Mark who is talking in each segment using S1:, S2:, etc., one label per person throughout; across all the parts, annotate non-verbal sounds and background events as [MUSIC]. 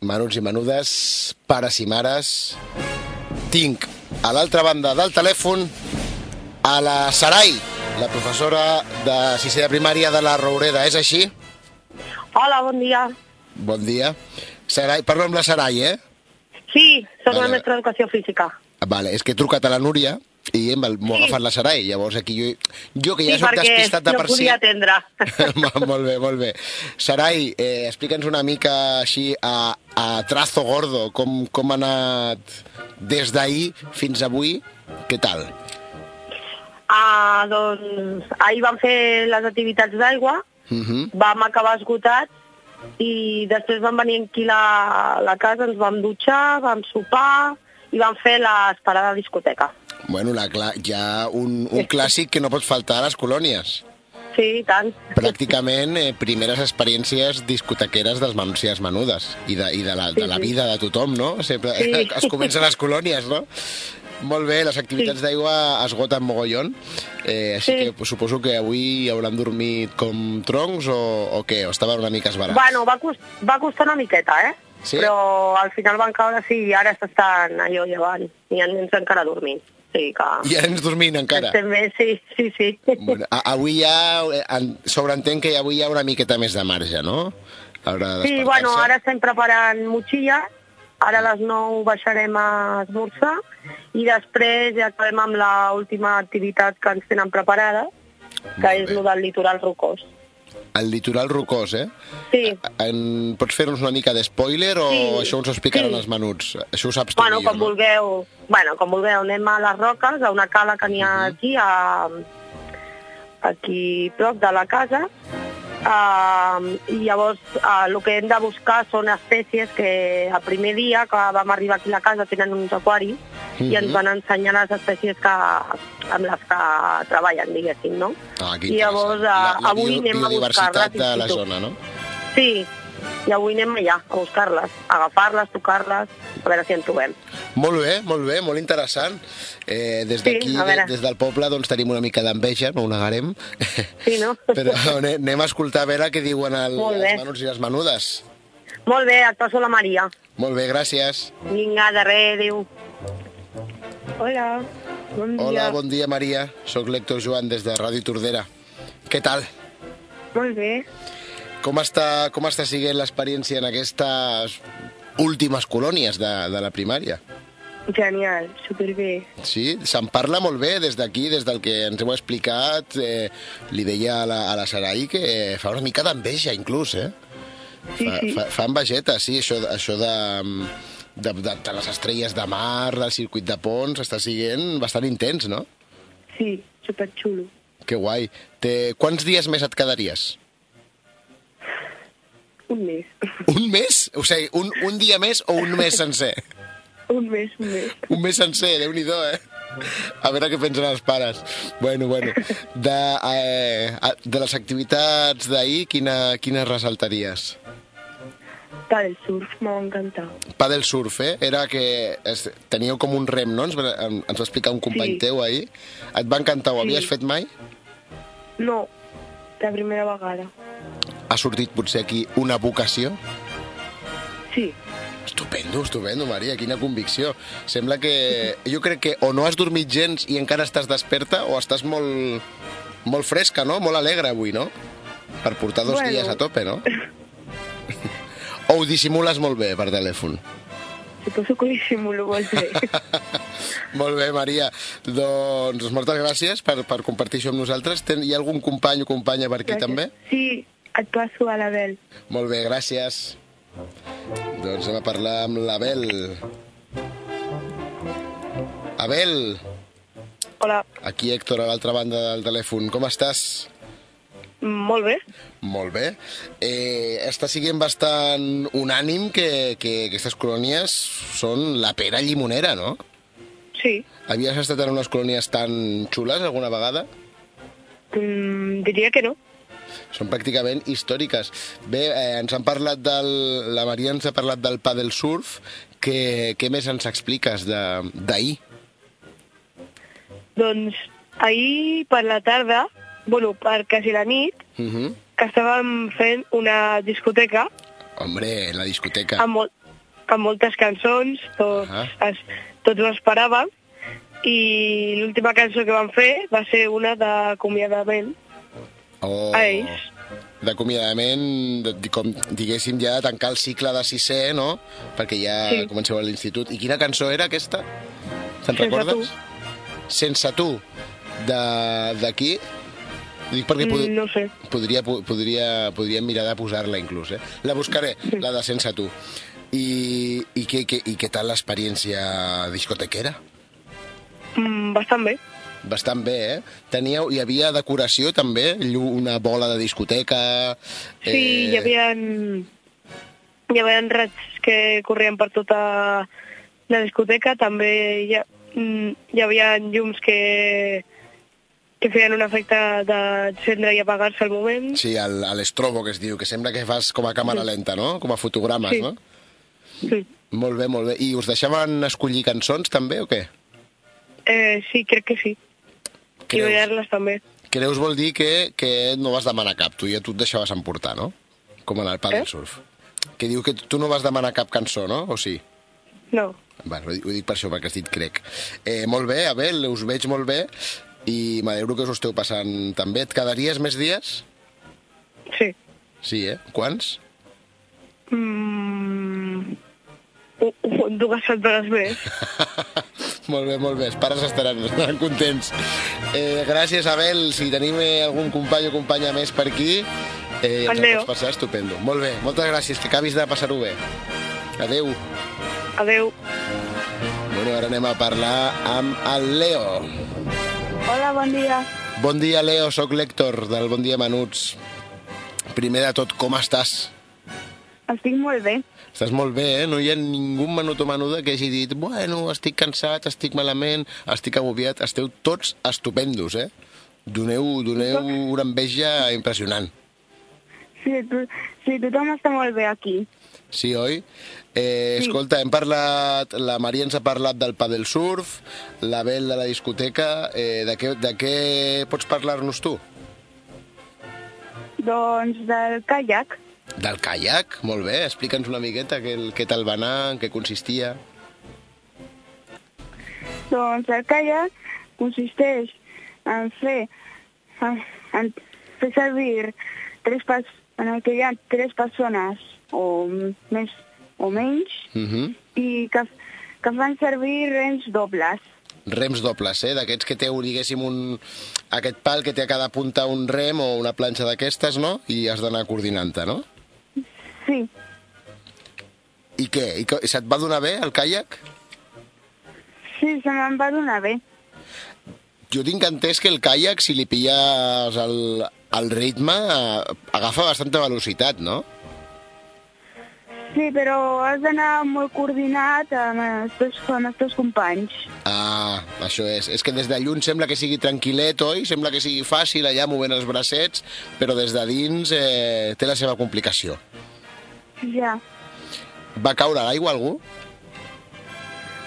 S1: menuts i menudes, pares i mares. Tinc a l'altra banda del telèfon a la Sarai, la professora de sisè de primària de la Roureda. És així?
S2: Hola, bon dia.
S1: Bon dia. Sarai, parlo amb la Sarai, eh?
S2: Sí, sóc
S1: Hola.
S2: la mestra d'educació física.
S1: Vale, és que he trucat a la Núria i m'ho sí.
S2: Sí.
S1: agafat la Sarai. Llavors aquí jo, jo que ja
S2: sí,
S1: soc
S2: perquè
S1: despistat de
S2: no
S1: per si...
S2: podia atendre.
S1: [LAUGHS] Molt- molt bé, molt bé. Sarai, eh, explica'ns una mica així a, a trazo gordo com, com ha anat des d'ahir fins avui. Què tal?
S2: ah, doncs, ahir vam fer les activitats d'aigua,
S1: Uh -huh.
S2: vam acabar esgotats i després vam venir aquí la, la casa, ens vam dutxar, vam sopar i vam fer l'esperada a discoteca.
S1: Bueno, la, cla- hi ha un, un clàssic que no pot faltar a les colònies.
S2: Sí, i tant.
S1: Pràcticament eh, primeres experiències discotequeres dels menucias menudes i de, i de, la, de la
S2: Sí, sí.
S1: vida de tothom, no? Sempre
S2: Sí.
S1: [LAUGHS] es comencen les colònies, no? Molt bé, les activitats d'aigua esgoten mogollon, eh, així
S2: Sí.
S1: que suposo que avui hauran dormit com troncs o, o què? O estaven una mica esbarats?
S2: Bueno, va, cost, va costar una miqueta, eh?
S1: Sí?
S2: Però al final van caure, sí, i ara s'estan allò llevant. Hi ha nens encara dormint. Sí, que...
S1: I ara ens dormint encara?
S2: Estem bé, sí, sí, sí.
S1: Bueno, a- avui ja, eh, en- sobreentenc que avui hi ha una miqueta més de marge, no? A l'hora de
S2: Sí,
S1: despertar-se.
S2: bueno, ara estem preparant motxilla, ara a les 9 baixarem a esmorzar i després ja acabem amb l'última activitat que ens tenen preparada, que
S1: Molt
S2: és
S1: bé.
S2: el del litoral rocós.
S1: El litoral rocós, eh?
S2: Sí.
S1: En, pots fer-nos una mica de spoiler o sí.
S2: Sí.
S1: això ens ho explicaran
S2: Sí.
S1: sí. els menuts? Això ho saps tu
S2: Bueno,
S1: millor,
S2: com
S1: no?
S2: vulgueu, bueno, com vulgueu, anem a les roques, a una cala que n'hi ha aquí, a, aquí prop de la casa, uh, i llavors uh, el que hem de buscar són espècies que el primer dia que vam arribar aquí a la casa tenen uns aquaris i ens van ensenyar les espècies que, amb les que treballen, diguéssim, no?
S1: Ah, que
S2: I llavors,
S1: interessant.
S2: a-
S1: la, la
S2: avui
S1: bio-
S2: anem a
S1: biodiversitat
S2: buscar-les
S1: de la
S2: i tot.
S1: zona, no?
S2: Sí, i avui anem allà a buscar-les, a agafar-les, tocar-les, a veure si en trobem.
S1: Molt bé, molt bé, molt interessant. Eh, des
S2: Sí,
S1: d'aquí,
S2: a
S1: de,
S2: veure.
S1: des del poble, doncs tenim una mica d'enveja, no ho negarem. [LAUGHS]
S2: Sí, no?
S1: Però ane- anem a escoltar a veure què diuen el,
S2: Molt bé.
S1: els menuts i les menudes.
S2: [LAUGHS] Molt bé, et passo la Maria.
S1: Molt bé, gràcies.
S2: Vinga, de res, adéu. Hola, bon
S1: Hola, bon dia, Maria. Soc l'Hèctor Joan, des de Ràdio Tordera. Què tal?
S2: Molt bé.
S1: Com està, com està siguent l'experiència en aquestes últimes colònies de, de la primària?
S2: Genial, superbé.
S1: Sí, se'n parla molt bé des d'aquí, des del que ens heu explicat. Eh, li deia a la, a la Sarai que eh, fa una mica d'enveja, inclús, eh?
S2: Sí,
S1: Fa,
S2: sí.
S1: fa, fa envejeta, sí, això, això de, de, de, de les estrelles de mar, del circuit de ponts, està siguent bastant intens, no?
S2: Sí, superxulo.
S1: Que guai. Té... Quants dies més et quedaries?
S2: Un mes. [LAUGHS]
S1: Un mes? O sigui, un, un dia més o un mes sencer?
S2: Un mes, un mes.
S1: Un mes sencer, déu nhi eh? A veure què pensen els pares. Bueno, bueno. De, eh, a- de les activitats d'ahir, quina, quines ressaltaries?
S2: Para el surf, m'ha encantat.
S1: Padel surf, eh? Era que es, teníeu com un rem, no? Ens, va- em- ens va explicar un company
S2: Sí.
S1: teu ahir. Et va encantar, ho
S2: Sí.
S1: havies fet mai?
S2: No, la primera vegada.
S1: Ha sortit potser aquí una vocació?
S2: Sí.
S1: Estupendo, estupendo, Maria, quina convicció. Sembla que... Jo crec que o no has dormit gens i encara estàs desperta o estàs molt, molt fresca, no? Molt alegre avui, no? Per portar dos
S2: Bueno.
S1: dies a tope, no? O ho dissimules molt bé per telèfon.
S2: Suposo que ho dissimulo molt
S1: [LAUGHS]
S2: bé.
S1: Molt bé, Maria. Doncs moltes gràcies per, per compartir això amb nosaltres. Ten, hi ha algun company o companya per aquí també?
S2: Sí, et passo a l'Abel.
S1: Molt bé, gràcies. Doncs anem a parlar amb l'Abel. Abel,
S2: Hola,
S1: aquí Héctor a l'altra banda del telèfon. Com estàs?
S2: molt bé.
S1: Molt bé. Eh, està siguent bastant unànim que, que aquestes colònies són la pera llimonera, no?
S2: Sí.
S1: Havies estat en unes colònies tan xules alguna vegada?
S2: Mm, diria que no.
S1: Són pràcticament històriques. Bé, eh, ens han parlat del... La Maria ens ha parlat del paddle surf. Què, què més ens expliques de- d'ahir?
S2: Doncs ahir per la tarda, bueno, per quasi la nit,
S1: Uh -huh.
S2: que estàvem fent una discoteca
S1: Hombre, la discoteca.
S2: amb, molt, amb moltes cançons, tot,
S1: Ahà.
S2: es, tots ho esperàvem, i l'última cançó que vam fer va ser una d'acomiadament
S1: Oh.
S2: a ells.
S1: D'acomiadament, de- com diguéssim, ja de tancar el cicle de sisè, no? Perquè ja sí.
S2: Sí.
S1: comenceu a l'institut. I quina cançó era aquesta? Te'n
S2: Sense
S1: recordes? Sense tu. De- D'aquí? Dic perquè pod
S2: Mm, No ho sé.
S1: podria, po- podria, podríem mirar de posar-la inclús, eh? La buscaré, la de Sense tu. I, i, què, què, i què tal l'experiència discotequera?
S2: Mm, bastant bé.
S1: Bastant bé, eh? Teníeu, hi havia decoració també, Llu- una bola de discoteca... eh,
S2: Sí, hi havia... Hi havia raigs que corrien per tota la discoteca, també hi, ha, mm, hi havia llums que, que feien un efecte d'encendre i apagar-se al moment.
S1: Sí, el- a l'estrobo, que es diu, que sembla que fas com a càmera lenta, no? Com a fotogrames,
S2: Sí.
S1: no?
S2: Sí.
S1: Molt bé, molt bé. I us deixaven escollir cançons, també, o què?
S2: Eh, sí, crec que sí. I
S1: Creus,
S2: ballar-les també.
S1: creus vol dir que, que no vas demanar cap, tu ja tu et deixaves emportar, no? Com en el paddle
S2: Eh?
S1: surf. Que diu que tu no vas demanar cap cançó, no? O sí?
S2: No.
S1: Bueno, ho dic- ho dic per això, perquè has dit crec. Eh, molt bé, Abel, us veig molt bé i m'alegro que us ho esteu passant també. Et quedaries més dies?
S2: Sí.
S1: Sí, eh? Quants?
S2: Mm... u- u- Dues setmanes més.
S1: molt bé, molt bé. Els pares estaran, estaran [LAUGHS] contents. Eh, gràcies, Abel. Si tenim eh, algun company o companya més per aquí, eh, ens el
S2: Adéu.
S1: pots passar estupendo. Molt bé, moltes gràcies. Que acabis de passar-ho bé. Adeu.
S2: Adeu.
S1: Bueno, ara anem a parlar amb el Leo.
S2: Hola, bon dia.
S1: Bon dia, Leo. Soc l'Hèctor, del Bon Dia Menuts. Primer de tot, com estàs?
S2: Estic molt bé.
S1: Estàs molt bé, eh? No hi ha ningú menut o menuda que hagi dit bueno, estic cansat, estic malament, estic agobiat. Esteu tots estupendos, eh? Doneu, doneu una enveja impressionant.
S2: Sí, tu, sí, tothom està molt bé aquí.
S1: Sí, oi? Eh, escolta, hem parlat, la Maria ens ha parlat del padel surf, l'Abel de la discoteca, eh, de, què, de què pots parlar-nos tu?
S2: Doncs del kayak.
S1: Del caiac? Molt bé, explica'ns una miqueta què, què tal va anar, en què consistia.
S2: Doncs el kayak consisteix en fer, en, en fer servir tres pas, en el que hi ha tres persones o més o menys
S1: Uh -huh.
S2: i que, que fan servir rens dobles.
S1: rems dobles, eh? d'aquests que teu, diguéssim, un... aquest pal que té a cada punta un rem o una planxa d'aquestes, no? I has d'anar coordinant-te, no?
S2: Sí,
S1: I què? I co- se't va donar bé el caiac?
S2: sí, se me'n va donar bé.
S1: Jo tinc entès que el caiac, si li pilles el, el ritme, eh, agafa bastanta velocitat, no?
S2: Sí, però has d'anar molt coordinat amb els teus, amb els teus companys.
S1: Ah, això és. És que des de lluny sembla que sigui tranquil·let, oi? Sembla que sigui fàcil allà movent els bracets, però des de dins eh, té la seva complicació.
S2: Ja,
S1: Va caure a l'aigua algú?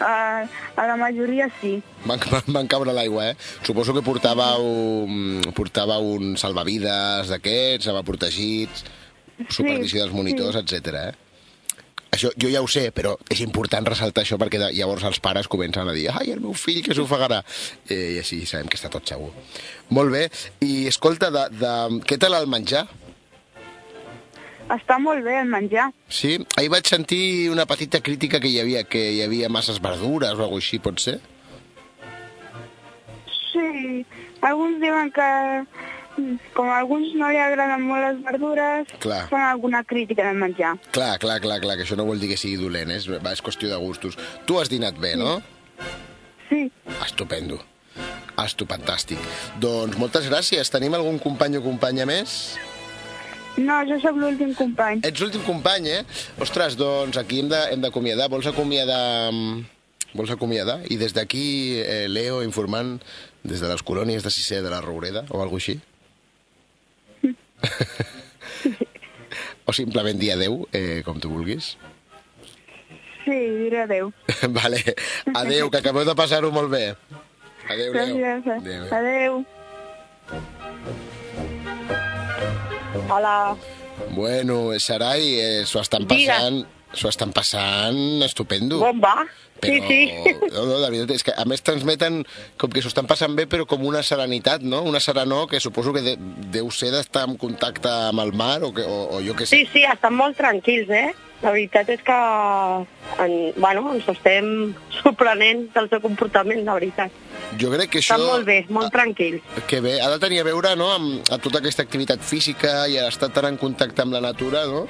S2: a, a la majoria sí.
S1: Van, van, [LAUGHS] van caure a l'aigua, eh? Suposo que portava un, portava un salvavides d'aquests, anava protegits, supervisió dels monitors, etc. eh? Això jo ja ho sé, però és important ressaltar això perquè de- llavors els pares comencen a dir ai, el meu fill que s'ofegarà. Eh, I així sabem que està tot segur. Molt bé. I escolta, de, de... què tal el menjar?
S2: Està molt bé el menjar.
S1: Sí? Ahir vaig sentir una petita crítica que hi havia, que hi havia masses verdures o alguna cosa així, pot ser?
S2: Sí, alguns diuen que mm, com a alguns no li agraden molt les verdures,
S1: Clar.
S2: fan alguna crítica del menjar.
S1: Clar, clar, clar, clar, que això no vol dir que sigui dolent, és, va, és qüestió de gustos. Tu has dinat bé, no?
S2: Sí,
S1: Estupendo. Estupendàstic. Doncs moltes gràcies. Tenim algun company o companya més?
S2: no, jo sóc l'últim company.
S1: Ets l'últim company, eh? Ostres, doncs aquí hem de- hem d'acomiadar. Vols acomiadar... mm, Vols acomiadar? I des d'aquí, eh, Leo, informant des de les colònies de Sisè de la Roureda o alguna així? [LAUGHS] o simplement dir adeu, eh, com tu vulguis.
S2: Sí, diré adeu.
S1: [LAUGHS] Vale. Adéu, que acabeu de passar-ho molt bé. Adéu, Leo.
S2: Gràcies.
S1: Adéu. adéu.
S2: Adeu. Hola.
S1: Bueno, Sarai, eh, s'ho estan
S2: Digues.
S1: passant... S'ho estan passant estupendo.
S2: Bomba. Sí, sí.
S1: [LAUGHS] No, no, de veritat, és que a més transmeten com que s'ho estan passant bé, però com una serenitat, no? Una serenor que suposo que de, deu ser d'estar en contacte amb el mar o, que, o, o jo què sé.
S2: Sí, sí, estan molt tranquils, eh? La veritat és que en, bueno, ens estem sorprenent del seu comportament, la veritat.
S1: Jo crec que això... Ah,
S2: Estan molt bé, molt tranquils.
S1: Que bé, ha de tenir a veure no, amb, amb tota aquesta activitat física i estar tan en contacte amb la natura, no?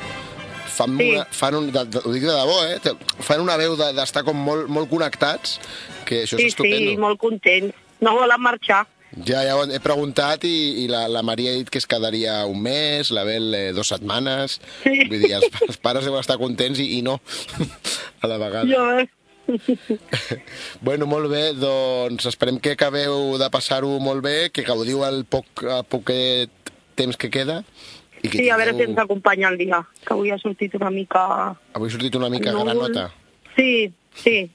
S1: Fan,
S2: Sí.
S1: una, fan un, de, de, ho dic de debò, eh? Te- Fan una veu de- d'estar de, com molt, molt connectats, que això és
S2: Sí, sí,
S1: estupendo.
S2: molt contents. No volen marxar.
S1: Ja, ja ho he preguntat i, i la, la Maria ha dit que es quedaria un mes, la Bel eh, dues setmanes...
S2: Sí.
S1: Vull dir, els, els pares deuen estar contents i, i no, [LAUGHS] a la vegada.
S2: Jo,
S1: Bueno, molt bé, doncs esperem que acabeu de passar-ho molt bé, que gaudiu el poc, a poquet temps que queda. I que
S2: sí, a veure si
S1: tingueu-
S2: ens acompanya el dia, que avui ha sortit una mica
S1: Avui ha sortit una mica granota.
S2: Sí, sí.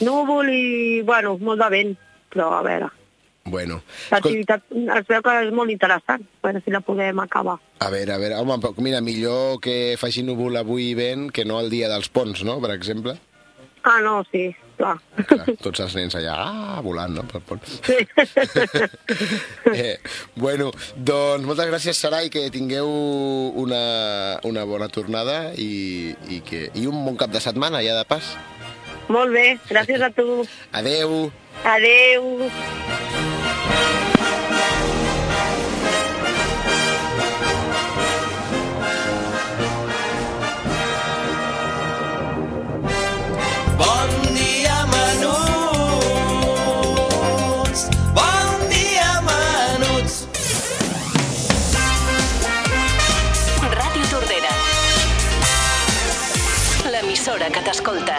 S2: Núvol i, bueno, molt de vent, però a veure.
S1: Bueno, escolta,
S2: L'activitat es veu que és molt interessant, a veure si la podem acabar.
S1: a veure, a veure, home, però mira, millor que faci núvol avui i vent que no el dia dels ponts, no?, per exemple.
S2: Ah, no, sí, clar. [LAUGHS]
S1: Clar, tots els nens allà, ah, volant, no?, pel pont.
S2: Sí.
S1: Eh, bueno, doncs moltes gràcies, Sarai, que tingueu una, una bona tornada i, i, que, i un bon cap de setmana, ja de pas.
S2: molt bé, gràcies a tu.
S1: Adeu!
S2: Adeu.
S3: Bon dia, menuts. Bon dia, menuts.
S4: Ràdio Tordera. L'emissora que t'escolta.